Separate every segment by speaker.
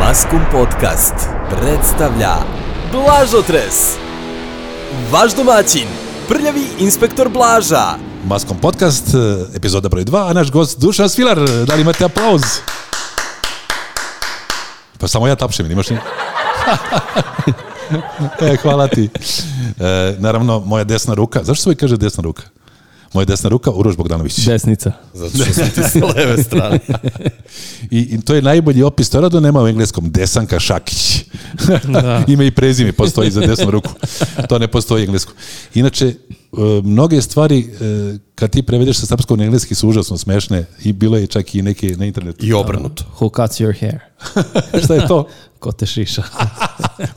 Speaker 1: Maskum Podcast predstavlja Blažotres Vaš domaćin, prljavi inspektor Blaža
Speaker 2: Maskom podcast, eh, epizoda broj 2, a naš gost Dušan Svilar. Da li imate aplauz? Pa samo ja tapšem, imaš ni... e, hvala ti. E, naravno, moja desna ruka, zašto se uvijek kaže desna ruka? Moja desna ruka, Uroš Bogdanović.
Speaker 3: Desnica.
Speaker 4: Zato što sam ti sa leve strane.
Speaker 2: I, I to je najbolji opis, to rado nema u engleskom, Desanka Šakić. Ime i prezime postoji za desnu ruku. To ne postoji u engleskom. Inače, e, mnoge stvari, e, kad ti prevedeš sa srpskog na engleski, su užasno smešne i bilo je čak i neke na internetu.
Speaker 4: I obrnuto.
Speaker 3: Who cuts your hair?
Speaker 2: Šta je to?
Speaker 3: Ko te šiša?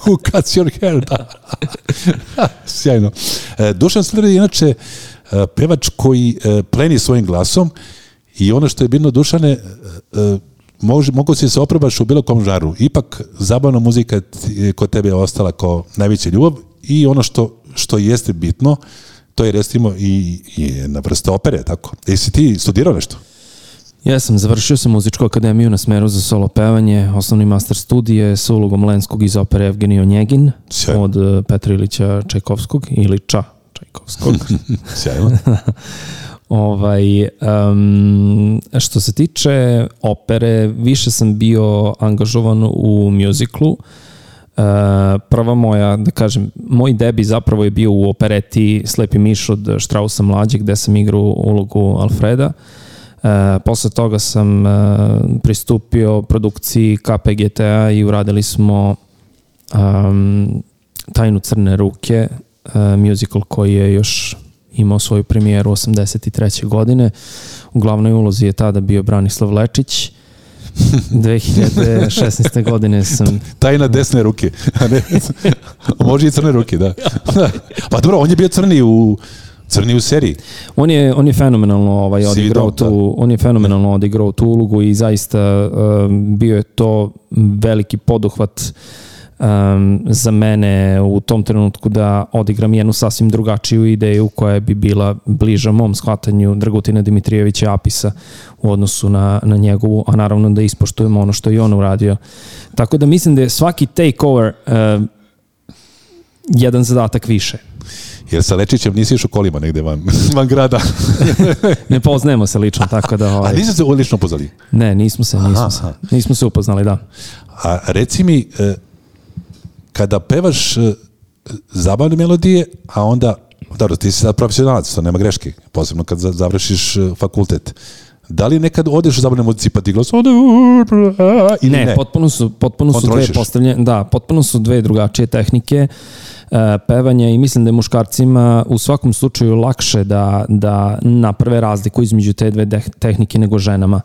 Speaker 2: Who cuts your hair? Da. Sjajno. E, Dušan Sler je inače e, pevač koji e, pleni svojim glasom i ono što je bitno, Dušane, e, e, mož, mogu si se oprobaš u bilo kom žaru. Ipak, zabavna muzika ti- kod tebe je ostala kao najveća ljubav i ono što, što jeste bitno, to je recimo i, i na vrsta opere, tako. Jesi ti studirao nešto?
Speaker 3: Ja sam završio sam muzičku akademiju na smeru za solo pevanje, osnovni master studije sa ulogom Lenskog iz opere Evgenio Njegin
Speaker 2: Sjajno.
Speaker 3: od eh, Petra Ilića Čajkovskog ili Ča Čajkovskog.
Speaker 2: Sjajno.
Speaker 3: ovaj, em, što se tiče opere, više sam bio angažovan u mjuziklu. E, prva moja, da kažem, moj debi zapravo je bio u opereti Slepi miš od Štrausa mlađeg gde sam igrao ulogu Alfreda. E, posle toga sam e, pristupio produkciji KPGT-a i uradili smo um, Tajnu crne ruke, uh, musical koji je još imao svoju premijeru 83. godine. U glavnoj ulozi je tada bio Branislav Lečić. 2016. godine sam...
Speaker 2: Tajna desne ruke. A ne, a može i crne ruke, da. pa dobro, on je bio crni u, crni u seriji.
Speaker 3: On je, on je fenomenalno ovaj,
Speaker 2: Sivi
Speaker 3: odigrao
Speaker 2: dom, da.
Speaker 3: tu, on je fenomenalno odigrao tu ulogu i zaista um, bio je to veliki poduhvat um, za mene u tom trenutku da odigram jednu sasvim drugačiju ideju koja bi bila bliža mom shvatanju Dragutina Dimitrijevića Apisa u odnosu na, na njegovu, a naravno da ispoštujemo ono što je i on uradio. Tako da mislim da je svaki takeover um, jedan zadatak više.
Speaker 2: Jer sa Lečićem nisi išao kolima negde van, van grada.
Speaker 3: Ne poznajemo se lično, tako da...
Speaker 2: A
Speaker 3: Ovaj,
Speaker 2: niste se odlično upoznali.
Speaker 3: Ne, nismo se, nismo
Speaker 2: Aha,
Speaker 3: se.
Speaker 2: aha.
Speaker 3: Nismo se upoznali, da.
Speaker 2: A reci mi, e, kada pevaš e, zabavne melodije, a onda, dobro, ti si sad profesionalac, to nema greške, posebno kad za- završiš e, fakultet. Da li nekad odeš u zabavne muzici pa ti glas ili ne?
Speaker 3: Ne, potpuno su potpuno su dve
Speaker 2: Kontrolišeš.
Speaker 3: postavljene, da, potpuno su dve drugačije tehnike e, pevanja i mislim da je muškarcima u svakom slučaju lakše da da naprave razliku između te dve deh- tehnike nego ženama.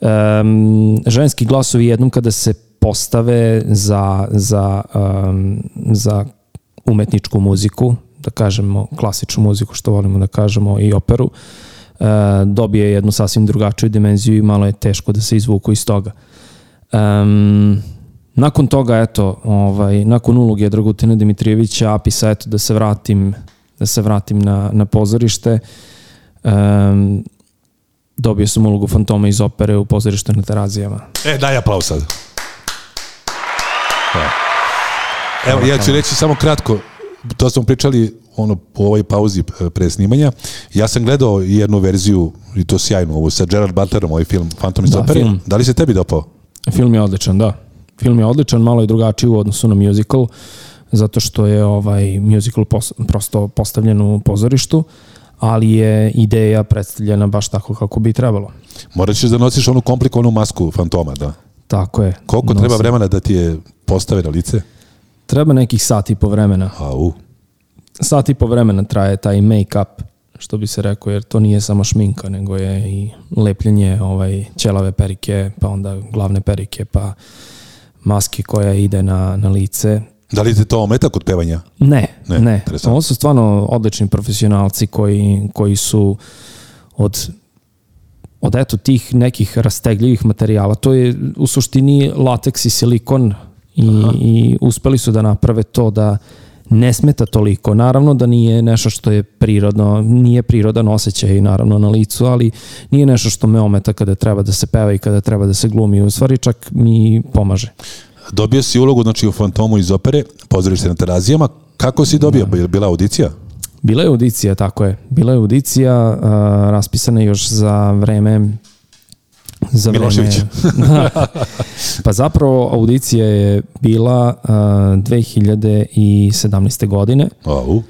Speaker 3: Em, ženski glasovi jednom kada se postave za za em, za umetničku muziku, da kažemo klasičnu muziku što volimo da kažemo i operu, e, dobije jednu sasvim drugačiju dimenziju i malo je teško da se izvuku iz toga. Um, nakon toga, eto, ovaj, nakon uloge Dragutina Dimitrijevića, Apisa, eto, da se vratim, da se vratim na, na pozorište. Um, dobio sam ulogu Fantoma iz opere u pozorištu na Terazijama.
Speaker 2: E, daj aplauz sad. Evo. Evo, ja ću reći samo kratko, to smo pričali ono po ovoj pauzi e, pre snimanja. Ja sam gledao jednu verziju i to sjajnu ovu sa Gerard Butlerom, ovaj film Phantom iz
Speaker 3: Da,
Speaker 2: opere.
Speaker 3: film.
Speaker 2: Da li se tebi dopao?
Speaker 3: Film je odličan, da. Film je odličan, malo je drugačiji u odnosu na musical, zato što je ovaj musical pos, prosto postavljen u pozorištu, ali je ideja predstavljena baš tako kako bi trebalo.
Speaker 2: Morat ćeš da nosiš onu komplikovanu masku fantoma, da.
Speaker 3: Tako je.
Speaker 2: Koliko
Speaker 3: No,
Speaker 2: treba vremena da ti je postave na lice?
Speaker 3: Treba nekih sati po vremena.
Speaker 2: Au.
Speaker 3: sat i po vremena traje taj make-up, što bi se rekao, jer to nije samo šminka, nego je i lepljenje ovaj, ćelave perike, pa onda glavne perike, pa maske koja ide na, na lice.
Speaker 2: Da li te to ometa kod pevanja?
Speaker 3: Ne,
Speaker 2: Ne,
Speaker 3: ne.
Speaker 2: interesantno.
Speaker 3: Ovo su stvarno odlični profesionalci koji, koji su od od eto tih nekih rastegljivih materijala. To je u suštini lateks i silikon i, i uspeli su da naprave to da ne smeta toliko. Naravno da nije nešto što je prirodno, nije prirodan osjećaj naravno na licu, ali nije nešto što me ometa kada treba da se peva i kada treba da se glumi. U stvari čak mi pomaže.
Speaker 2: Dobio si ulogu, znači, u Fantomu iz opere, pozorište na Terazijama. Kako si dobio? Je li bila audicija?
Speaker 3: Bila je audicija, tako je. Bila je audicija, uh, raspisana još za vreme za vreme-
Speaker 2: Miloševića.
Speaker 3: Da. pa zapravo audicija je bila uh, 2017. godine
Speaker 2: Au.
Speaker 3: uh,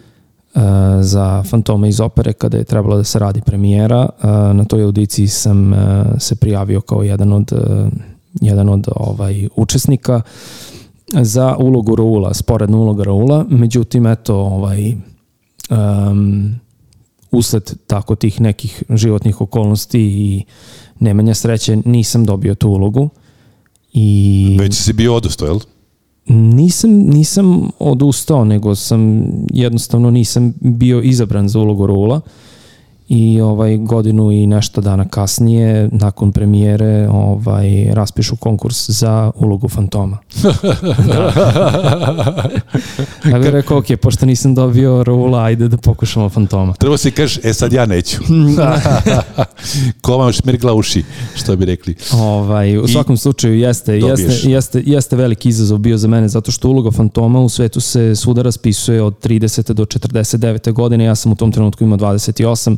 Speaker 3: za Fantome iz opere kada je trebalo da se radi premijera. Uh, na toj audiciji sam uh, se prijavio kao jedan od, uh, jedan od ovaj, učesnika za ulogu Raula, sporednu uloga Raula. Međutim, eto, ovaj, um, usled tako tih nekih životnih okolnosti i nemanja sreće nisam dobio tu ulogu. I...
Speaker 2: Već si bio odosto, jel?
Speaker 3: Nisam, nisam odustao, nego sam jednostavno nisam bio izabran za ulogu Rula i ovaj godinu i nešto dana kasnije nakon premijere ovaj raspišu konkurs za ulogu fantoma. da. ja bih rekao, ok, pošto nisam dobio Rula, ajde da pokušamo fantoma.
Speaker 2: Treba si kažeš, e sad ja neću. Ko vam šmirgla uši, što bi rekli.
Speaker 3: Ovaj, u svakom slučaju jeste,
Speaker 2: dobiješ.
Speaker 3: jeste, jeste, jeste veliki izazov bio za mene zato što uloga fantoma u svetu se svuda raspisuje od 30. do 49. godine, ja sam u tom trenutku imao 28.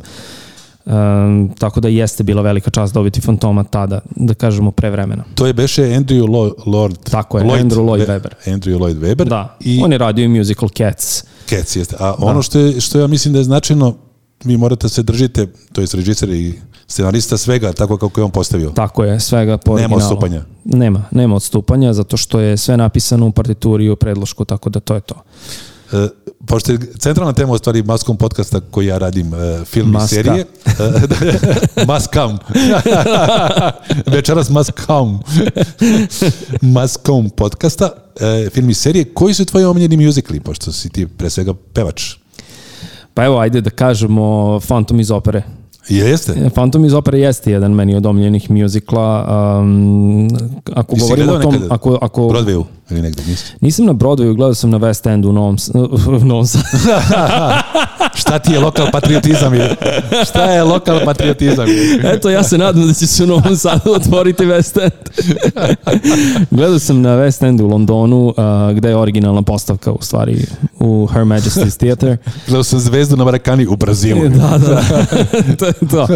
Speaker 3: Um, tako da jeste bila velika čast dobiti fantoma tada, da kažemo pre vremena.
Speaker 2: To je beše Andrew Lo- Lord.
Speaker 3: Tako je, Andrew Lloyd Webber.
Speaker 2: Andrew Lloyd Webber.
Speaker 3: Da,
Speaker 2: I
Speaker 3: on je radio i musical Cats.
Speaker 2: Cats jeste. A ono što, je, što ja mislim da je značajno, vi morate se držite, to je režiser i scenarista svega, tako kako je on postavio.
Speaker 3: Tako je, svega po
Speaker 2: Nema
Speaker 3: originalu.
Speaker 2: odstupanja.
Speaker 3: Nema, nema odstupanja, zato što je sve napisano u partituri i u predlošku, tako da to je to.
Speaker 2: E, pošto je centralna tema u stvari maskom podcasta koji ja radim e, film i
Speaker 3: Maska.
Speaker 2: serije e, maskam večeras maskam maskom podcasta e, film i serije koji su tvoji omiljeni muzikli pošto si ti pre svega pevač
Speaker 3: Pa evo, ajde da kažemo Fantom iz opere.
Speaker 2: jeste
Speaker 3: Phantom iz opere jeste jedan meni od omiljenih mjuzikla. Um, ako
Speaker 2: Ti si
Speaker 3: govorimo o
Speaker 2: gledao
Speaker 3: tom,
Speaker 2: nekada?
Speaker 3: ako, ako,
Speaker 2: Broadwayu ili negde nisi
Speaker 3: nisam na Broadwayu, gledao sam na West Endu u Novom, S- u Novom Sadu.
Speaker 2: šta ti je lokal patriotizam je? šta je lokal patriotizam
Speaker 3: Eto, ja se nadam da će se u Novom Sadu otvoriti West End. Gledao sam na West Endu u Londonu, a, gde je originalna postavka u stvari u Her Majesty's Theatre.
Speaker 2: gledao sam zvezdu na Marakani u Brazilu
Speaker 3: E, da, da. to je to.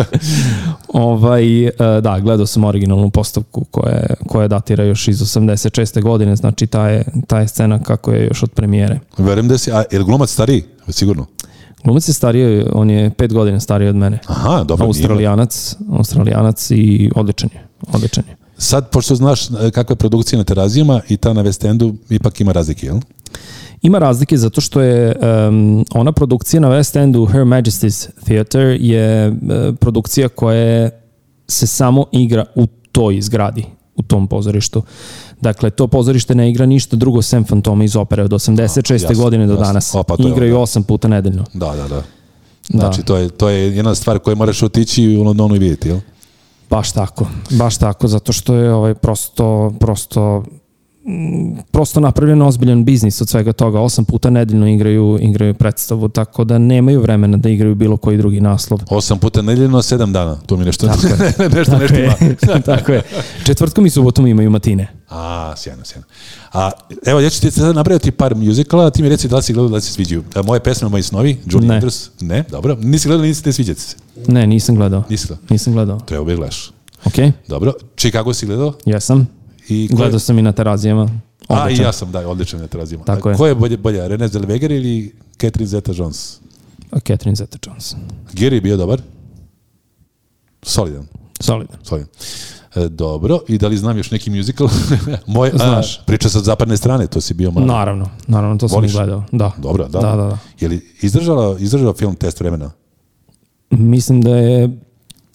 Speaker 3: Ovaj, e, da, gledao sam originalnu postavku koja, koja datira još iz 86. godine, znači ta je, ta je scena kako je još od premijere.
Speaker 2: verujem da si a je li glumac stariji sigurno
Speaker 3: Glumac je stariji, on je pet godina stariji od mene.
Speaker 2: aha dobro nije-
Speaker 3: Australijanac, australijanac i odličan je, odličan je.
Speaker 2: Sad, pošto znaš e, kakva je produkcija na terazijama i ta na West Endu, ipak ima razlike, jel?
Speaker 3: Ima razlike zato što je um, ona produkcija na West Endu Her Majesty's Theatre je e, produkcija koja se samo igra u toj zgradi, u tom pozorištu. Dakle, to pozorište ne igra ništa drugo sem Fantoma iz opere od 86.
Speaker 2: Jasno,
Speaker 3: godine do
Speaker 2: jasno.
Speaker 3: danas.
Speaker 2: O, pa to je
Speaker 3: Igraju 8 puta nedeljno.
Speaker 2: Da, da, da.
Speaker 3: Da.
Speaker 2: Znači, to je, to je jedna stvar koju moraš otići u Londonu i vidjeti, jel?
Speaker 3: Baš tako, baš tako, zato što je ovaj prosto, prosto mm, prosto napravljen ozbiljan biznis od svega toga. Osam puta nedeljno igraju, igraju predstavu, tako da nemaju vremena da igraju bilo koji drugi naslov.
Speaker 2: Osam puta nedeljno, sedam dana. To mi nešto, nešto, nešto ima.
Speaker 3: E, Tako je. Četvrtkom i subotom imaju matine.
Speaker 2: A, sjajno, sjajno. A, evo, ja ću ti sad napraviti par muzikala, a ti mi reci da li si gledao, da li se sviđaju. E, Moje pesme, moji snovi, Johnny
Speaker 3: Ne.
Speaker 2: Andrews. Ne, dobro. Nisi gledao, nisi ne sviđa ti se.
Speaker 3: Ne, nisam gledao.
Speaker 2: Nisi gledao.
Speaker 3: Nisam gledao.
Speaker 2: Treba bi gledaš.
Speaker 3: Ok,
Speaker 2: Dobro. Chicago si gledao?
Speaker 3: jesam.
Speaker 2: I ko je-
Speaker 3: Gledao sam i na terazijama.
Speaker 2: A, i
Speaker 3: Odličan.
Speaker 2: ja sam, da, odličan na terazijama.
Speaker 3: Tako
Speaker 2: A
Speaker 3: je.
Speaker 2: Ko je bolje, bolja, Renée Zellweger ili Catherine Zeta-Jones?
Speaker 3: A Catherine Zeta-Jones.
Speaker 2: Giri je bio dobar. Solidan.
Speaker 3: Solidno.
Speaker 2: Solidan. E, dobro, i da li znam još neki musical? Moj,
Speaker 3: Znaš.
Speaker 2: A, priča sa zapadne strane, to si bio malo.
Speaker 3: Naravno, naravno, to sam
Speaker 2: Voliš?
Speaker 3: i gledao. Da.
Speaker 2: Dobro, da.
Speaker 3: Da, da, da.
Speaker 2: Je li izdržala, izdržao film test vremena?
Speaker 3: Mislim da je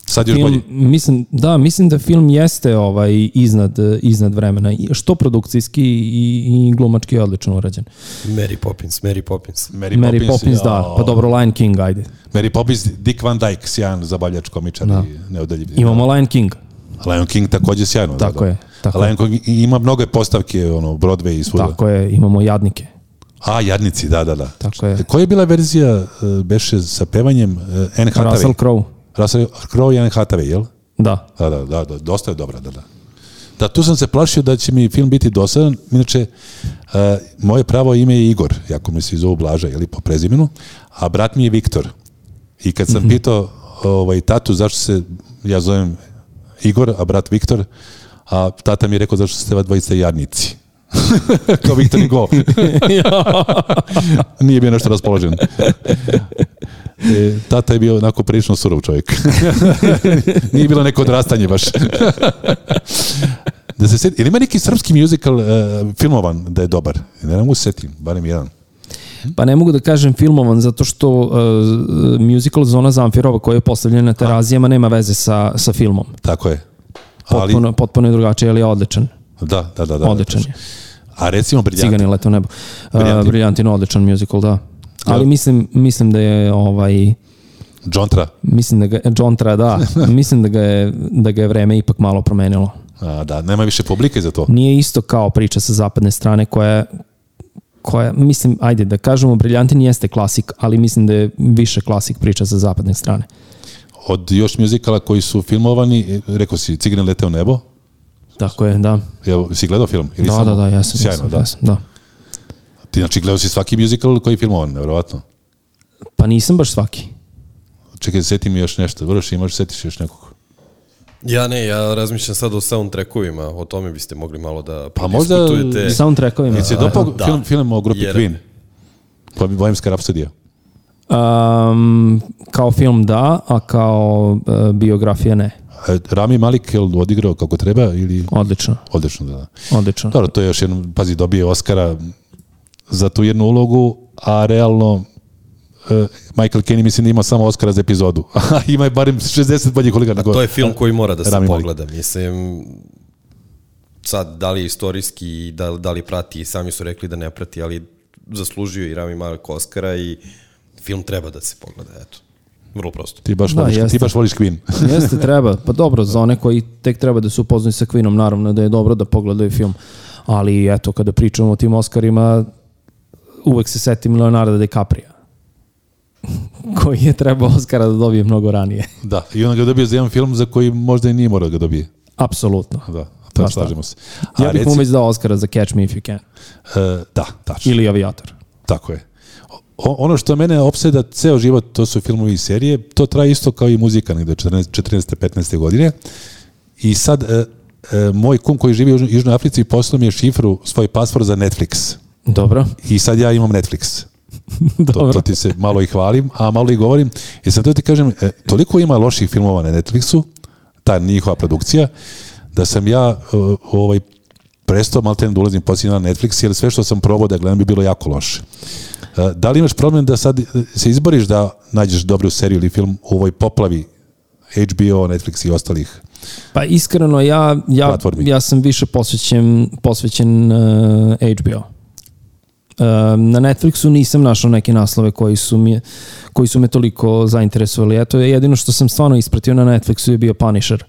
Speaker 2: Sad još bolje.
Speaker 3: film, mislim, da, mislim da film jeste ovaj iznad, iznad vremena, I što produkcijski i, i glumački je odlično urađen.
Speaker 4: Mary Poppins, Mary Poppins.
Speaker 2: Mary,
Speaker 3: Mary Poppins, da,
Speaker 2: jao.
Speaker 3: pa dobro, Lion King, ajde.
Speaker 2: Mary Poppins, Dick Van Dyke, sjajan zabavljač, komičar
Speaker 3: Da.
Speaker 2: i neodaljiv.
Speaker 3: Imamo Lion King,
Speaker 2: Lion King takođe sjajno.
Speaker 3: Tako je, tako
Speaker 2: Lion King ima mnoge postavke, ono, Broadway i svuda.
Speaker 3: tako je, imamo Jadnike.
Speaker 2: A, Jadnici, da, da, da.
Speaker 3: Tako je.
Speaker 2: Koja je bila verzija, e, beše sa pevanjem, e, Anne Hathaway?
Speaker 3: Russell Crowe,
Speaker 2: Russell Crowe i Anne Hathaway, jel?
Speaker 3: da.
Speaker 2: Da, da, da, da, dosta je dobra, da, da. Da, tu sam se plašio da će mi film biti dosadan. Inače, uh, moje pravo ime je Igor, jako mi se zove Blaža, jeli, po prezimenu, a brat mi je Viktor. I kad sam mm -hmm. pitao ovaj, tatu zašto se ja zovem Igor, a brat Viktor, a tata mi je rekao zašto ste va dvojice jadnici. Kao Viktor Hugo. Nije bio nešto raspoložen. E, tata je bio onako prilično surov čovjek. Nije bilo neko odrastanje baš. da se sjeti, ili ima neki srpski musical uh, filmovan da je dobar? Ne mogu se setim, barem jedan.
Speaker 3: Pa ne mogu da kažem filmovan, zato što uh, musical Zona Zamfirova koja je postavljena na terazijama nema veze sa, sa filmom.
Speaker 2: Tako je.
Speaker 3: Potpuno, ali, potpuno je drugačije, ali je odličan.
Speaker 2: Da, da, da. da
Speaker 3: Odličan
Speaker 2: da,
Speaker 3: je.
Speaker 2: A recimo Briljantin.
Speaker 3: Cigani lete u nebo.
Speaker 2: Briljantin.
Speaker 3: Uh, Briljantin, odličan musical, da. Ali mislim, mislim da je ovaj
Speaker 2: John Tra.
Speaker 3: mislim da ga John Tra, da, mislim da ga je da ga je vreme ipak malo promenilo.
Speaker 2: A, da, nema više publike za to.
Speaker 3: Nije isto kao priča sa zapadne strane koja je koja, mislim, ajde da kažemo, Briljantin jeste klasik, ali mislim da je više klasik priča sa zapadne strane.
Speaker 2: Od još muzikala koji su filmovani, e, rekao si Cigane lete u nebo,
Speaker 3: Tako je, da.
Speaker 2: Jel, si gledao film? Ili
Speaker 3: Da,
Speaker 2: samo-
Speaker 3: da, da, jesam.
Speaker 2: Sjajno,
Speaker 3: jesam,
Speaker 2: da.
Speaker 3: Jesam, da.
Speaker 2: Ti znači gledao si svaki musical koji je filmovan, nevjerovatno.
Speaker 3: Pa nisam baš svaki.
Speaker 2: Čekaj, seti mi još nešto. Vrš, imaš, setiš još nekog.
Speaker 4: Ja ne, ja razmišljam sad o soundtrackovima, o tome biste mogli malo da
Speaker 2: Pa možda-
Speaker 4: prodiskutujete.
Speaker 3: Soundtrackovima.
Speaker 2: Jel si dopao
Speaker 4: da.
Speaker 2: film, film o grupi
Speaker 4: Jer-
Speaker 2: Queen? Pa bi Bohemska rapsodija.
Speaker 3: Um, kao film da, a kao uh, biografija ne.
Speaker 2: E, Rami Malik je li odigrao kako treba ili...
Speaker 3: Odlično,
Speaker 2: Odlično, da. da.
Speaker 3: odlično.
Speaker 2: Dobro, to je još jednom, pazi, dobio je Oscara za tu jednu ulogu, a realno e, Michael Caine mislim da ima samo Oscara za epizodu. A ima je barem 60 boljih uloga.
Speaker 4: To je film koji mora da se
Speaker 2: Rami Malek.
Speaker 4: pogleda. Mislim, sad, da li je istorijski, i da, da li prati, i sami su rekli da ne prati, ali zaslužio je i Rami Malek Oscara i film treba da se pogleda, eto. Vrlo prosto.
Speaker 2: Ti baš,
Speaker 3: Da,
Speaker 2: voliš, ti
Speaker 3: jeste.
Speaker 2: baš voliš Queen.
Speaker 3: Jeste, treba. Pa dobro, za one koji tek treba da se upoznaju sa Queenom, naravno da je dobro da pogledaju film. Ali eto, kada pričamo o tim Oscarima, uvek se setim Leonarda DiCaprio koji je trebao Oscara da dobije mnogo ranije.
Speaker 2: da, i onda ga je dobio za jedan film za koji možda i nije morao da ga dobije.
Speaker 3: Apsolutno.
Speaker 2: Da, to
Speaker 3: Pa šta?
Speaker 2: slažemo se. A
Speaker 3: Ja bih mu već dao Oscara za Catch Me If You Can.
Speaker 2: e, da, tačno.
Speaker 3: Ili Avijator.
Speaker 2: Tako je. O, ono što mene opseda ceo život, to su filmovi i serije, to traje isto kao i muzika negde 14. 14. 15. godine. I sad, e, e, moj kum koji živi u Južnoj- Južnoj Africi poslao mi je šifru, svoj pasvor za Netflix.
Speaker 3: Dobro.
Speaker 2: I sad ja imam Netflix. To,
Speaker 3: Dobro.
Speaker 2: to ti se malo i hvalim, a malo i govorim. I sad to ti kažem, e, toliko ima loših filmova na Netflixu, ta njihova produkcija, da sam ja e, ovaj, prestao maltene da ulazim posljednje na Netflix, jer sve što sam probao da gledam bi bilo jako loše. E, Da li imaš problem da sad e, se izboriš da nađeš dobru seriju ili film u ovoj poplavi HBO, Netflix i ostalih?
Speaker 3: Pa iskreno ja ja
Speaker 2: Platformi.
Speaker 3: ja sam više posvećen posvećen uh, HBO. Uh, na Netflixu nisam našao neke naslove koji su mi koji su me toliko zainteresovali. Eto jedino što sam stvarno ispratio na Netflixu je bio Punisher.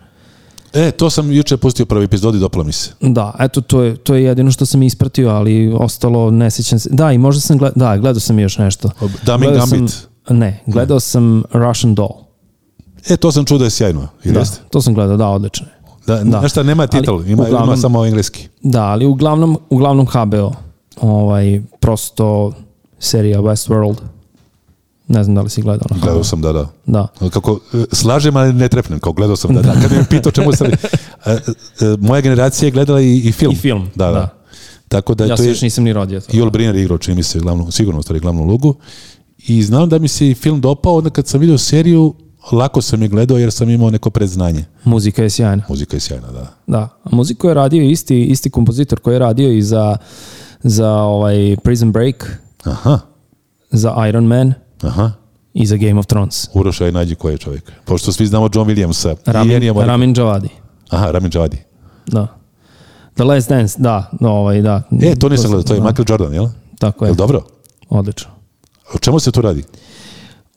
Speaker 2: E, to sam juče pustio prvi epizod i dopalo mi se.
Speaker 3: Da, eto to je to je jedino što sam ispratio, ali ostalo ne sećam se. Da, i možda sam gled, da, gledao sam još nešto.
Speaker 2: Daming
Speaker 3: Gledao sam-
Speaker 2: Gambit.
Speaker 3: ne, gledao sam Russian Doll.
Speaker 2: E, to sam čuo da je sjajno. ili
Speaker 3: Da,
Speaker 2: jeste?
Speaker 3: to sam gledao, da, odlično. je.
Speaker 2: Da, da.
Speaker 3: Da.
Speaker 2: Znaš šta, nema
Speaker 3: Ali,
Speaker 2: titul, ima, ima
Speaker 3: uglavnom-
Speaker 2: samo engleski.
Speaker 3: Da, ali uglavnom, uglavnom HBO. Ovaj, prosto serija Westworld. Ne znam da li si gledao. ono na
Speaker 2: Gledao
Speaker 3: HBO.
Speaker 2: sam, da, da.
Speaker 3: Da.
Speaker 2: Kako, e, slažem, ali ne trepnem, kao gledao sam, da, da. Kad bi me pitao čemu sam... e, moja generacija je gledala i, i film.
Speaker 3: I film,
Speaker 2: Da, da.
Speaker 3: da.
Speaker 2: Tako da
Speaker 3: Ja
Speaker 2: to
Speaker 3: se
Speaker 2: je...
Speaker 3: još nisam ni rodio. to.
Speaker 2: Joel Briner igrao, čini mi se, glavnu, sigurno u stvari glavnu ulogu. I znam da mi se i film dopao, onda kad sam vidio seriju, lako sam je gledao jer sam imao neko predznanje.
Speaker 3: Muzika je sjajna.
Speaker 2: Muzika je sjajna, da.
Speaker 3: Da. A Muziku je radio isti, isti kompozitor koji je radio i za, za ovaj Prison Break,
Speaker 2: Aha,
Speaker 3: za Iron Man
Speaker 2: aha.
Speaker 3: i za Game of Thrones.
Speaker 2: Urošaj nađi ko je čovjek. Pošto svi znamo John Williamsa. i
Speaker 3: Ramin,
Speaker 2: Ennija Morricone.
Speaker 3: Ramin Džavadi.
Speaker 2: Aha, Ramin Džavadi.
Speaker 3: Da. The Last Dance, da. No, ovaj, da.
Speaker 2: E, to nisam
Speaker 3: sam-
Speaker 2: gledao, to je
Speaker 3: da,
Speaker 2: Michael Jordan, jel?
Speaker 3: Tako je.
Speaker 2: Jel dobro?
Speaker 3: Odlično.
Speaker 2: O čemu se tu radi?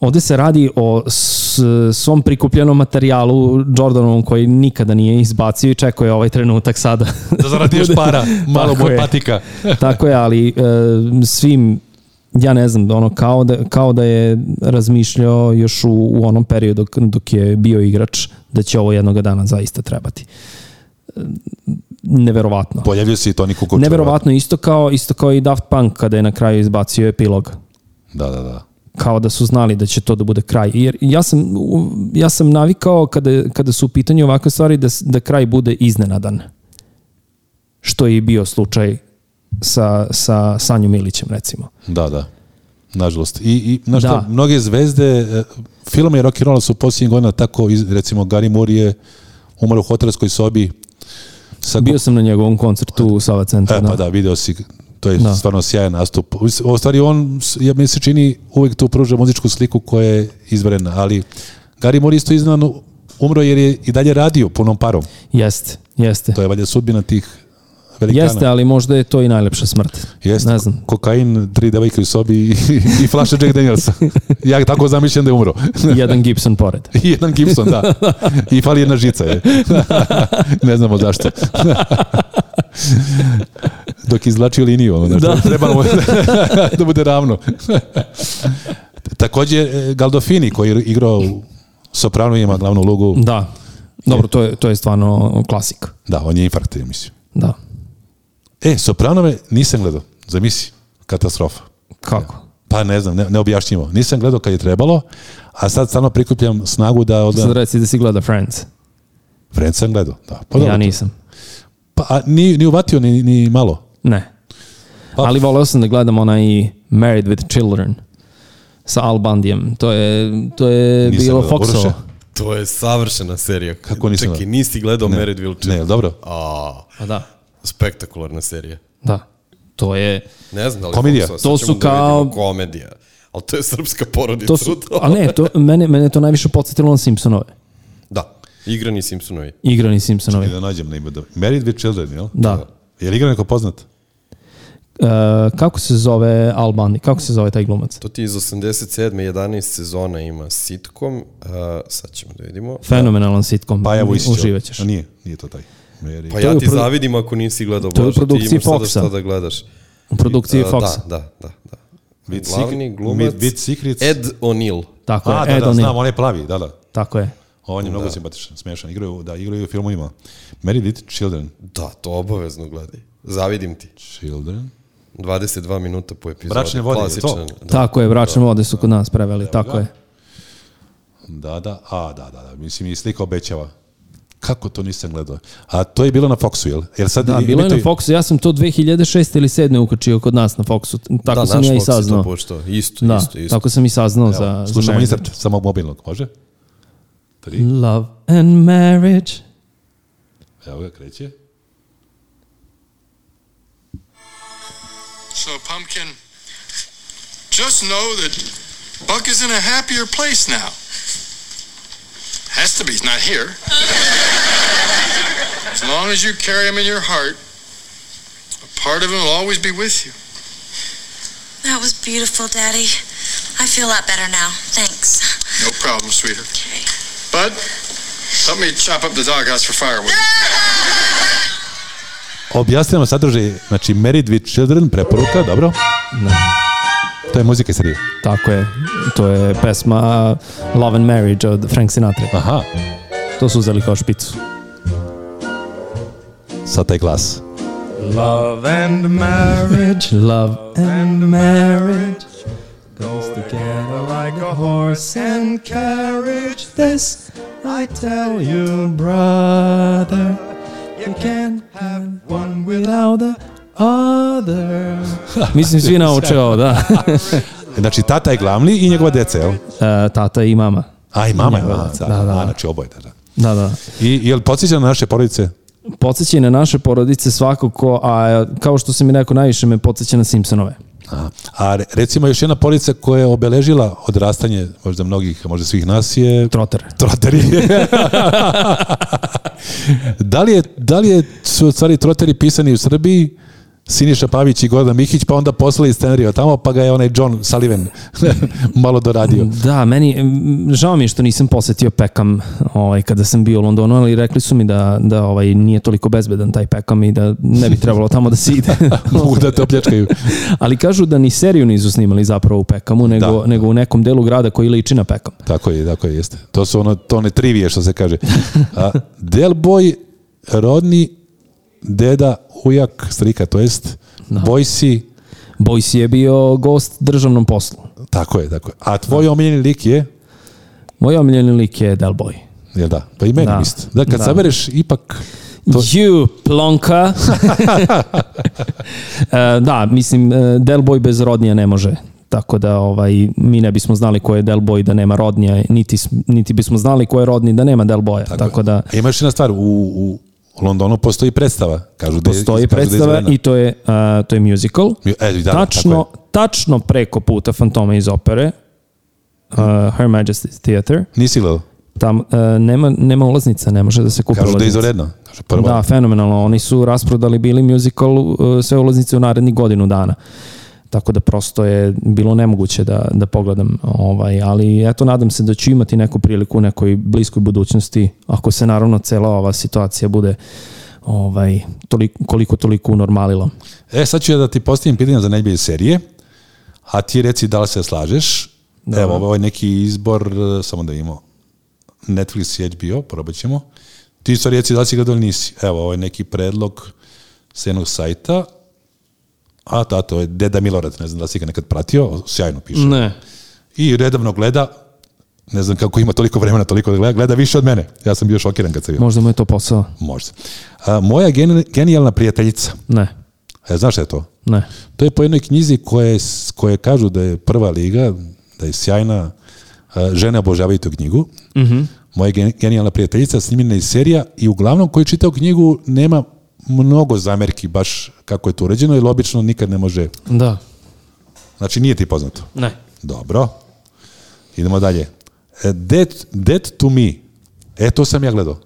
Speaker 3: Ovde se radi o s- svom prikupljenom materijalu Jordanovom koji nikada nije izbacio i čekao je ovaj trenutak sada.
Speaker 2: Da zaradi još para, malo
Speaker 3: Tako
Speaker 2: moj
Speaker 3: je.
Speaker 2: patika.
Speaker 3: Tako je, ali e, svim ja ne znam, ono kao da, kao da je razmišljao još u, u onom periodu dok, dok je bio igrač da će ovo jednoga dana zaista trebati. E, neverovatno.
Speaker 2: Pojavio se i Toni Kukoč.
Speaker 3: Neverovatno isto kao isto kao i Daft Punk kada je na kraju izbacio epilog.
Speaker 2: Da, da, da.
Speaker 3: kao da su znali da će to da bude kraj. Jer ja sam, u- ja sam navikao kada, kada su u pitanju ovakve stvari da, s- da kraj bude iznenadan. Što je i bio slučaj sa, sa Sanju Milićem recimo.
Speaker 2: Da, da. Nažalost. I, i znaš
Speaker 3: Da.
Speaker 2: šta, mnoge zvezde, e, film je rock and roll su posljednjih godina tako, iz, recimo Gary Moore je umro u hotelskoj sobi sa
Speaker 3: Bio sam na njegovom koncertu u Sava centru.
Speaker 2: E,
Speaker 3: da.
Speaker 2: pa da, video si, to je
Speaker 3: Da.
Speaker 2: stvarno sjajan nastup. U stvari, on, s- ja mi se čini, uvek tu pruža muzičku sliku koja je izvrena, ali Gary Moore isto iznan umro jer je i dalje radio punom parom.
Speaker 3: Jeste, jeste.
Speaker 2: To je valjda sudbina tih velikana.
Speaker 3: Jeste, ali možda je to i najlepša smrt.
Speaker 2: Jeste,
Speaker 3: Ne znam.
Speaker 2: kokain, tri devojke u sobi i, i flaša Jack Danielsa. Ja tako zamišljam da je umro.
Speaker 3: Jedan Gibson pored.
Speaker 2: I jedan Gibson, da. I fali jedna žica je. ne znamo zašto. Dok izvlačio liniju, ono, znači, da. treba mu da bude ravno. Takođe, e, Galdofini koji je igrao u Sopranu ima glavnu ulogu.
Speaker 3: Da. Dobro, to je, to je stvarno klasik.
Speaker 2: Da, on je infarkt, ja mislim.
Speaker 3: Da.
Speaker 2: E, Sopranove nisam gledao, zamisli, katastrofa.
Speaker 3: Kako?
Speaker 2: Pa ne znam, ne, neobjašnjivo. Nisam gledao kad je trebalo, a sad stvarno prikupljam snagu da
Speaker 3: Sad
Speaker 2: odam...
Speaker 3: reci da si gleda Friends.
Speaker 2: Friends sam gledao, da. Pa, dobro,
Speaker 3: Ja nisam.
Speaker 2: Pa, a, ni, ni uvatio, ni, ni malo.
Speaker 3: Ne.
Speaker 2: Pa-
Speaker 3: Ali voleo sam da gledam onaj Married with Children sa Al Bundyjem. To je, to je
Speaker 2: Nisam
Speaker 3: bilo
Speaker 2: gledao,
Speaker 3: Foxovo.
Speaker 2: Boruše.
Speaker 4: To je savršena serija.
Speaker 2: Kako nisam
Speaker 4: Čekaj,
Speaker 2: gledao?
Speaker 4: nisi gledao Married Will
Speaker 2: Ne,
Speaker 4: Children?
Speaker 2: jel dobro?
Speaker 4: A,
Speaker 3: Pa da.
Speaker 4: spektakularna serija.
Speaker 3: Da. To je...
Speaker 4: Ne znam da li...
Speaker 2: Komedija.
Speaker 4: Fox, sad
Speaker 3: To
Speaker 4: ćemo
Speaker 3: su kao-
Speaker 4: Da vidimo. komedija. Ali to je srpska porodica.
Speaker 3: To su,
Speaker 4: to.
Speaker 3: a ne, to, mene, mene je to najviše podsjetilo na Simpsonove.
Speaker 4: Da, igrani Simpsonovi.
Speaker 3: Igrani
Speaker 2: I
Speaker 3: Simpsonovi.
Speaker 2: da nađem na ime da... Married with Children, jel?
Speaker 3: Da.
Speaker 2: Je li igra neko poznat?
Speaker 3: E, kako se zove Al Bundy? Kako se zove taj glumac?
Speaker 4: To ti iz 87. 11 sezona ima sitkom. Uh, sad ćemo da vidimo.
Speaker 3: Fenomenalan sitcom.
Speaker 2: Paja Vujsić.
Speaker 3: Uživaćeš.
Speaker 2: A Nije, nije to taj. Married.
Speaker 4: Pa
Speaker 3: je
Speaker 4: ja
Speaker 3: u
Speaker 4: ti
Speaker 3: produ-
Speaker 4: zavidim ako nisi gledao
Speaker 3: to je u
Speaker 4: Bože. Ti
Speaker 3: produkciji
Speaker 4: imaš sada
Speaker 3: Foxa.
Speaker 4: šta da gledaš.
Speaker 3: U produkciji
Speaker 4: A,
Speaker 3: Foxa.
Speaker 4: Da, da, da. da.
Speaker 2: With
Speaker 4: Glavni
Speaker 2: Secret-
Speaker 4: glumac...
Speaker 2: With- With Secrets.
Speaker 4: Ed O'Neill.
Speaker 3: Tako je.
Speaker 2: A,
Speaker 3: Ed
Speaker 2: da, da,
Speaker 3: O'Neill.
Speaker 2: znam, on je plavi, da, da.
Speaker 3: Tako je.
Speaker 2: On je mnogo simpatičan, smešan. Igraju, da, igraju u filmovima. Married with Children.
Speaker 4: Da, to obavezno gledaj. Zavidim ti.
Speaker 2: Children.
Speaker 4: 22 minuta po epizodi.
Speaker 2: Bračne vode, je to?
Speaker 4: Klasičan.
Speaker 3: tako je, bračne vode su kod nas preveli. tako je.
Speaker 2: Da, da, a, da, da, da. Mislim, i slika obećava. Kako to nisam gledao? A to je bilo na Foxu, jel? Jer sad
Speaker 3: Da,
Speaker 2: i-
Speaker 3: bilo je na
Speaker 2: imituju-
Speaker 3: Foxu, ja sam to 2006. ili 2007. ukačio kod nas na Foxu, tako
Speaker 4: Da,
Speaker 3: sam
Speaker 4: naš
Speaker 3: ja i
Speaker 4: Fox je to
Speaker 3: saznao.
Speaker 4: puštao. Isto,
Speaker 3: Da,
Speaker 4: isto, isto.
Speaker 3: tako sam i saznao za... za
Speaker 2: Slušamo
Speaker 3: marriage.
Speaker 2: insert samog mobilnog, može? Tri,
Speaker 3: Love and marriage.
Speaker 2: evo ga, kreće.
Speaker 5: So, Pumpkin, just know that Buck is in a happier place now. Has to be, he's not here. as long as you carry him in your heart, a part of him will always be with you.
Speaker 6: That was beautiful, Daddy. I feel a lot better now. Thanks.
Speaker 5: No problem, sweetheart.
Speaker 6: Okay.
Speaker 5: Bud, help me chop up the doghouse for firewood.
Speaker 2: Objasnimo sadržaj, znači Married with Children, preporuka, dobro? To je muzika iz Srbije.
Speaker 3: Tako je, to je pesma uh, Love and Marriage od Frank Sinatra.
Speaker 2: Aha,
Speaker 3: To su uzeli kao špicu.
Speaker 2: sad taj glas.
Speaker 3: Love and marriage, love and marriage goes together like a horse and carriage. This I tell you, brother, you can't have one without the other. Mislim svi nauče ovo, da.
Speaker 2: Znači, tata je glavni i njegova deca, jel?
Speaker 3: E, tata i mama.
Speaker 2: A, i mama je
Speaker 3: Njegova
Speaker 2: glavna,
Speaker 3: deca,
Speaker 2: da,
Speaker 3: da, da.
Speaker 2: A, znači oboje, da, da.
Speaker 3: Da, da.
Speaker 2: I, jel podsjeća na naše porodice?
Speaker 3: Podsjeća i na naše porodice svakako, a kao što sam i rekao, najviše me podsjeća na Simpsonove.
Speaker 2: A, a re- recimo još jedna porodica koja je obeležila odrastanje možda mnogih, možda svih nas je
Speaker 3: Trotter.
Speaker 2: troteri. da li je, da li je, su u stvari troteri pisani u Srbiji, Siniša Pavić i Gordan Mihić, pa onda poslali scenariju tamo, pa ga je onaj John Sullivan malo doradio.
Speaker 3: Da, meni, mm, žao mi je što nisam posetio Pekam ovaj, kada sam bio u Londonu, ali rekli su mi da, da ovaj, nije toliko bezbedan taj Pekam i da ne bi trebalo tamo da se ide.
Speaker 2: Mogu da te opljačkaju.
Speaker 3: ali kažu da ni seriju nisu snimali zapravo u Pekamu, nego,
Speaker 2: Da.
Speaker 3: nego u nekom delu grada koji liči na Pekam.
Speaker 2: Tako je, tako je, jeste. To su ono, to one trivije što se kaže. A, Del Boy rodni deda, ujak, strika, to jest, da. Bojsi,
Speaker 3: Boyce je bio gost državnom poslu.
Speaker 2: tako je, tako je. A tvoj omiljeni lik je,
Speaker 3: Moj omiljeni lik je Del Boy.
Speaker 2: jel da, pa i meni
Speaker 3: Da.
Speaker 2: isto. Da, kad
Speaker 3: Da.
Speaker 2: sabereš, ipak, To-
Speaker 3: You plonka. E, da, mislim, e, Del Boy bez rodnija ne može. Tako da ovaj, mi ne bismo znali ko je Del Boy da nema rodnija, niti, s- niti bismo znali ko je rodni da nema Del Boya. Tako, da
Speaker 2: A ima još jedna stvar, u, u Londonu postoji predstava, kažu da je-
Speaker 3: postoji
Speaker 2: kažu da je
Speaker 3: predstava
Speaker 2: izvedena.
Speaker 3: i to je, a, to je musical.
Speaker 2: Mi- e, da,
Speaker 3: tačno,
Speaker 2: tako
Speaker 3: tačno preko puta Fantoma iz opere, a, Her Majesty's Theatre,
Speaker 2: Nisi gledao?
Speaker 3: tam e, nema, nema ulaznica, ne može da se kupi
Speaker 2: Kažu da je
Speaker 3: ulaznica.
Speaker 2: izvanredno. Kažu prvo.
Speaker 3: Da, fenomenalno. Oni su rasprodali bili musical uh, sve ulaznice u narednih godinu dana. Tako da prosto je bilo nemoguće da, da pogledam. Ovaj, ali eto, nadam se da ću imati neku priliku u nekoj bliskoj budućnosti, ako se naravno cela ova situacija bude ovaj, toliko, koliko toliko unormalila.
Speaker 2: E, sad ću ja da ti postavim pitanje za najbolje serije, a ti reci da li se slažeš. Evo, ovo je neki izbor, e, samo da imamo Netflix i HBO, probat ćemo. Ti isto reci da li si gledao ili nisi. Evo, ovo je neki predlog s jednog sajta, a da, to je Deda Milorad, ne znam da li si ga nekad pratio, sjajno piše.
Speaker 3: Ne.
Speaker 2: I redovno gleda, ne znam kako ima toliko vremena, toliko da gleda, gleda više od mene. Ja sam bio šokiran kad sam bio.
Speaker 3: Možda mu je to posao.
Speaker 2: Možda. A, moja geni- genijalna prijateljica.
Speaker 3: Ne.
Speaker 2: E, znaš šta je to?
Speaker 3: Ne.
Speaker 2: To je po jednoj knjizi koje, koje kažu da je prva liga, da je sjajna, a, žene obožavaju tu knjigu. Moja gen- genijalna prijateljica snimljena je serija i uglavnom koji čitao knjigu nema mnogo zamerki baš kako je to uređeno, jer obično nikad ne može,
Speaker 3: Da.
Speaker 2: znači nije ti poznato.
Speaker 3: Ne.
Speaker 2: Dobro. Idemo dalje. E, Dead, Dead to me. E, to sam ja gledao.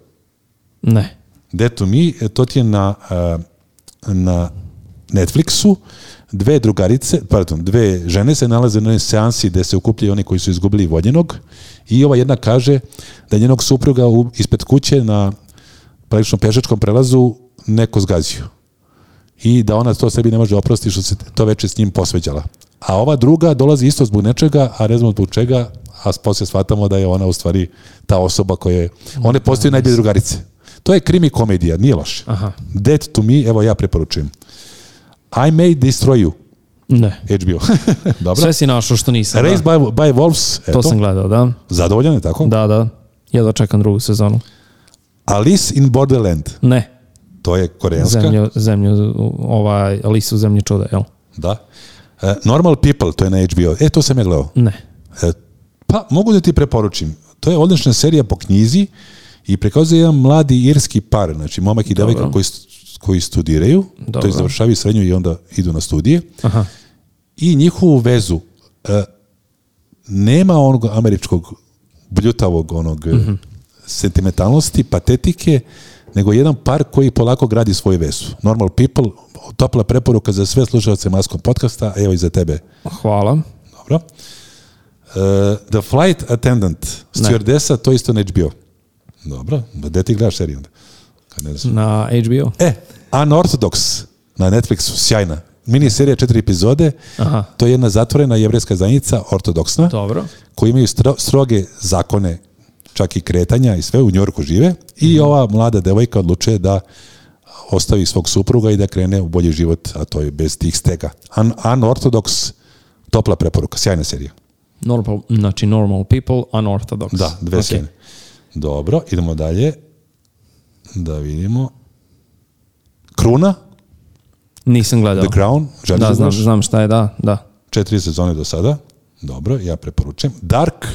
Speaker 3: Ne.
Speaker 2: Dead to me, e, to ti je na, a, na Netflixu. Dve drugarice, pardon, dve žene se nalaze na jednoj seansi gde se ukupljaju oni koji su izgubili voljenog i ova jedna kaže da je njenog supruga u, ispred kuće na praktično pešačkom prelazu neko zgazio i da ona to sebi ne može oprostiti što se to veče s njim posveđala. A ova druga dolazi isto zbog nečega, a ne znamo zbog čega, a poslije shvatamo da je ona u stvari ta osoba koja je... One postaju najbolje drugarice. To je krimi komedija, nije loše.
Speaker 3: Aha.
Speaker 2: Dead to me, evo ja preporučujem. I may destroy you,
Speaker 3: Ne.
Speaker 2: HBO. Dobro.
Speaker 3: Sve si našao što nisam. da.
Speaker 2: Raised by, by Wolves, eto.
Speaker 3: To sam gledao, da.
Speaker 2: Zadovoljan je tako?
Speaker 3: Da, da. Jedva čekam drugu sezonu.
Speaker 2: Alice in Borderland,
Speaker 3: Ne.
Speaker 2: to je koreanska.
Speaker 3: zemlju, zemlju, ovaj, lisu zemlju čuda, jel?
Speaker 2: Da. E, Normal People, to je na HBO. E, to sam ja gledao.
Speaker 3: Ne.
Speaker 2: E, Pa, mogu da ti preporučim. To je odlična serija po knjizi i prikazuje jedan mladi irski par, znači momak i devojka koji, st- koji studiraju, to
Speaker 3: Dobro.
Speaker 2: je završavaju srednju i onda idu na studije.
Speaker 3: Aha.
Speaker 2: I njihovu vezu e, nema onog američkog bljutavog onog e, sentimentalnosti, patetike, nego jedan par koji polako gradi svoju vezu. Normal People, topla preporuka za sve slušalce Maskom podcasta, a evo i za tebe.
Speaker 3: Hvala.
Speaker 2: Dobro. Uh, The Flight Attendant, stewardesa, to isto na HBO. Dobro, ma gde ti gledaš seriju onda? Kad ne znaš.
Speaker 3: Na HBO.
Speaker 2: E, Unorthodox na Netflixu, sjajna. Mini serija četiri epizode,
Speaker 3: Aha.
Speaker 2: to je jedna zatvorena jevreska zajednica, ortodoksna,
Speaker 3: Dobro.
Speaker 2: koji imaju stro- stroge zakone čak i kretanja i sve, u Njorku žive i ova mlada devojka odlučuje da ostavi svog supruga i da krene u bolji život, a to je bez tih stega. Un- Unorthodox, topla preporuka, sjajna serija.
Speaker 3: Normal, znači normal people, unorthodox.
Speaker 2: Da, dve
Speaker 3: Ok.
Speaker 2: sjene. Dobro, idemo dalje. Da vidimo. Kruna,
Speaker 3: Nisam gledao.
Speaker 2: The Crown, želiš da,
Speaker 3: Da, znam,
Speaker 2: znaš?
Speaker 3: znam šta je, da, da.
Speaker 2: Četiri sezone do sada. Dobro, ja preporučujem. Dark,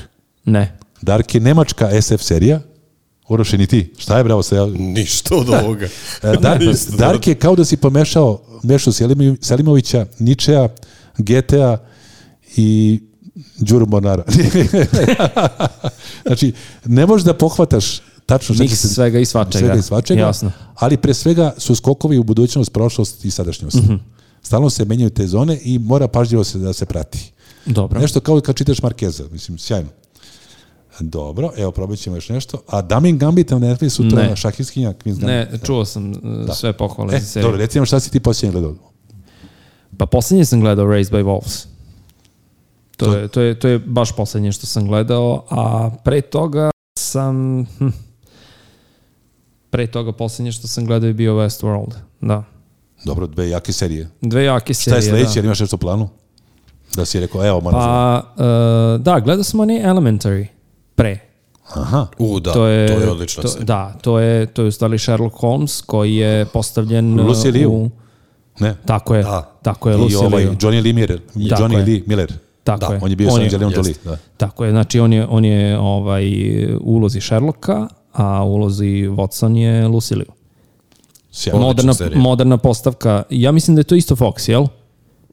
Speaker 3: Ne.
Speaker 2: Dark je nemačka SF serija. Uroš, ni ti. Šta je, bravo, se ja...
Speaker 4: Ništa od ovoga.
Speaker 2: E, Dark,
Speaker 4: Ništa.
Speaker 2: Dark je kao da si pomešao Mešu Selimi- Selimovića, Ničeja, Getea i Đuru Mornara. znači, ne možeš da pohvataš tačno šta će
Speaker 3: Miks
Speaker 2: se
Speaker 3: svega i svačega.
Speaker 2: svega i svačega,
Speaker 3: Jasno.
Speaker 2: ali pre svega su skokovi u budućnost, prošlost i sadašnjost.
Speaker 3: Mhm.
Speaker 2: Stalno se menjaju te zone i mora pažljivo se da se prati.
Speaker 3: Dobro.
Speaker 2: Nešto kao kad čitaš Markeza, mislim, sjajno. Dobro, evo probat ćemo još nešto. A Damin Gambit na Netflixu, sutra
Speaker 3: Ne.
Speaker 2: je šahistkinja Queen's Gambit.
Speaker 3: Ne, čuo sam e, sve pohvale
Speaker 2: E,
Speaker 3: za seriju.
Speaker 2: dobro, recimo šta si ti posljednje gledao?
Speaker 3: Pa posljednje sam gledao Raised by Wolves. To, je, to, je, to je baš posljednje što sam gledao, a pre toga sam... Hm, pre toga poslednje što sam gledao je bio Westworld. Da.
Speaker 2: Dobro, dve jake serije.
Speaker 3: Dve jake
Speaker 2: Šta
Speaker 3: serije.
Speaker 2: je sledeće,
Speaker 3: Da.
Speaker 2: jel imaš nešto u planu? Da si rekao, evo, moram za-
Speaker 3: Pa, uh, da, gledao sam oni Elementary pre.
Speaker 2: Aha.
Speaker 4: U, da,
Speaker 3: to je,
Speaker 4: to je odlična
Speaker 3: to,
Speaker 4: serija.
Speaker 3: Da, to je, to je u stvari Sherlock Holmes koji je postavljen uh,
Speaker 2: Lucy Liu.
Speaker 3: u...
Speaker 2: Ne.
Speaker 3: Tako je,
Speaker 4: Da.
Speaker 3: tako je,
Speaker 2: I
Speaker 3: Lucy
Speaker 2: ovaj,
Speaker 3: Liu.
Speaker 2: Johnny Lee Miller.
Speaker 3: Tako
Speaker 2: Johnny
Speaker 3: je.
Speaker 2: Lee Miller.
Speaker 3: Tako je.
Speaker 2: On je bio sa Angelina Jolie.
Speaker 4: jeste.
Speaker 2: Da.
Speaker 3: Tako je, znači on je, on je ovaj, u ulozi Sherlocka, a u ulozi Watson je Lucy Liu.
Speaker 2: Sjajno.
Speaker 3: Moderna,
Speaker 4: serija.
Speaker 3: moderna postavka. Ja mislim da je to isto Fox, jel?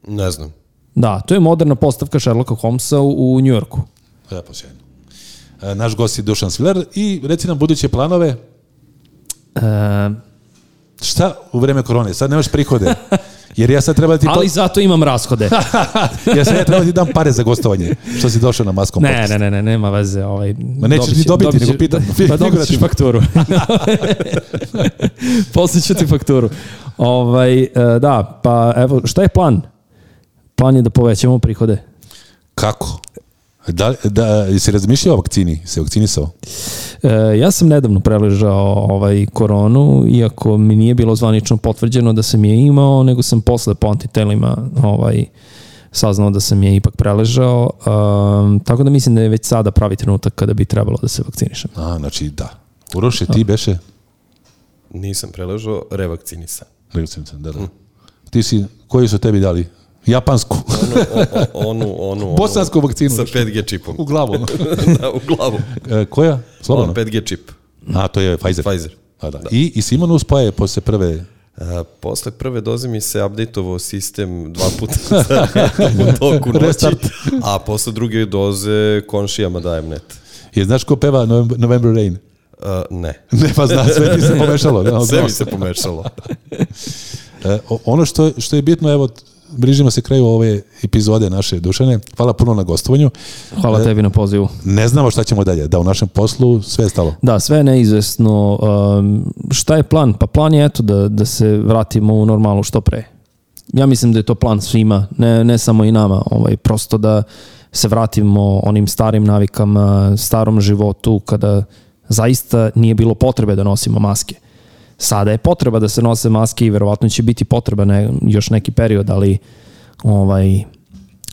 Speaker 4: Ne znam.
Speaker 3: Da, to je moderna postavka Sherlocka Holmesa u, u Njujorku.
Speaker 2: Da, pa sjajno. E, Naš gost je Dušan Sviler i reci nam buduće planove.
Speaker 3: E,
Speaker 2: Šta u vreme korone? Sad nemaš prihode. Jer ja sad treba da ti,
Speaker 3: ali zato imam rashode.
Speaker 2: ja sad ja treba da ti dam pare za gostovanje. Što si došao na maskom
Speaker 3: Ne,
Speaker 2: podcast.
Speaker 3: ne, ne, ne, nema veze. Ovaj, Ma
Speaker 2: nećeš ni dobiti, nego pitam.
Speaker 3: Pa dobit ćeš
Speaker 2: Figurativno.
Speaker 3: fakturu. Poslije ću ti fakturu. Ovaj, e, da, pa evo, šta je plan? Plan je da povećamo prihode.
Speaker 2: Kako? Da, da, jesi razmišljao o vakcini? Se vakcinisao?
Speaker 3: E, ja sam nedavno preležao ovaj koronu, iako mi nije bilo zvanično potvrđeno da sam je imao, nego sam posle po antitelima ovaj, saznao da sam je ipak preležao. Um, tako da mislim da je već sada pravi trenutak kada bi trebalo da se vakcinišem.
Speaker 2: A, znači da. Uroše, ti beše?
Speaker 4: Nisam preležao, revakcinisan.
Speaker 2: Rekao da, da. Ti si, koji su tebi dali? Japansku.
Speaker 4: Onu, o- o- onu, onu, onu.
Speaker 2: Bosansku vakcinu.
Speaker 4: Sa 5G čipom.
Speaker 2: u glavu. ono.
Speaker 4: da, u glavu.
Speaker 2: E, koja?
Speaker 4: Ono
Speaker 2: Slobodno?
Speaker 4: 5G čip.
Speaker 2: A, to je Pfizer.
Speaker 4: Pfizer.
Speaker 2: A, da. I, I Simon uspaje posle prve
Speaker 4: A, E, posle prve doze mi se updateovao sistem dva puta za redom u toku noći,
Speaker 2: Restart.
Speaker 4: a posle druge doze komšijama dajem net.
Speaker 2: Je, znaš ko peva November, November Rain?
Speaker 4: A, ne.
Speaker 2: Ne, pa znaš, sve ti se pomešalo. Da,
Speaker 4: Sve
Speaker 2: znam.
Speaker 4: mi se pomešalo.
Speaker 2: E, o- ono što, što je bitno, evo, bližimo se kraju ove epizode naše Dušane. Hvala puno na gostovanju.
Speaker 3: Hvala
Speaker 2: E,
Speaker 3: tebi na pozivu.
Speaker 2: Ne znamo šta ćemo dalje, da u našem poslu sve je stalo.
Speaker 3: Da, sve je neizvesno. Um, šta je plan? Pa plan je eto da, da se vratimo u normalu što pre. Ja mislim da je to plan svima, ne, ne samo i nama. Ovaj, prosto da se vratimo onim starim navikama, starom životu kada zaista nije bilo potrebe da nosimo maske. Sada je potreba da se nose maske i verovatno će biti potreba ne, još neki period, ali ovaj,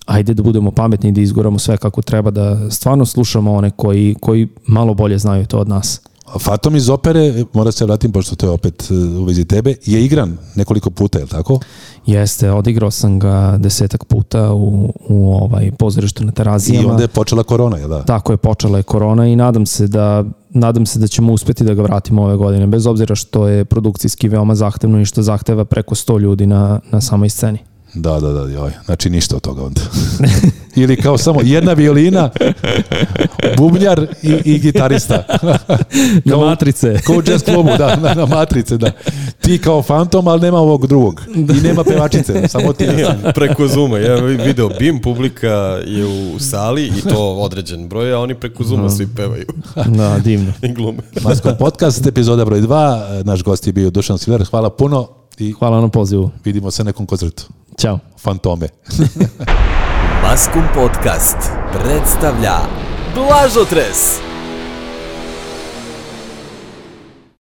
Speaker 3: ajde da budemo pametni i da izguramo sve kako treba, da stvarno slušamo one koji, koji malo bolje znaju to od nas.
Speaker 2: Fatom iz opere, mora se vratim, pošto to je opet e, u vezi tebe, je igran nekoliko puta, je li tako?
Speaker 3: Jeste, odigrao sam ga desetak puta u, u ovaj pozorištu na
Speaker 2: I
Speaker 3: Terazijama.
Speaker 2: onda je počela korona, je li da?
Speaker 3: Tako je počela je korona i nadam se da nadam se da ćemo uspeti da ga vratimo ove godine, bez obzira što je produkcijski veoma zahtevno i što zahteva preko 100 ljudi na, na samoj sceni.
Speaker 2: Da, da, da, joj. Znači ništa od toga onda. Ili kao samo jedna violina, bubnjar i, i gitarista.
Speaker 3: Na matrice.
Speaker 2: Kao u jazz klubu, da, na, na matrice, da. Ti kao fantom, ali nema ovog drugog. I nema pevačice, samo ti.
Speaker 4: preko Zuma. Ja sam video BIM, publika je u sali i to određen broj, a oni preko Zuma svi pevaju
Speaker 3: Da, divno.
Speaker 4: i glume.
Speaker 2: Masko podcast, epizoda broj 2. Naš gost je bio Dušan Siler. Hvala puno i
Speaker 3: Hvala na pozivu.
Speaker 2: vidimo se na nekom koncertu.
Speaker 3: Ćao.
Speaker 2: Fantome.
Speaker 1: Maskum Podcast predstavlja Blažotres.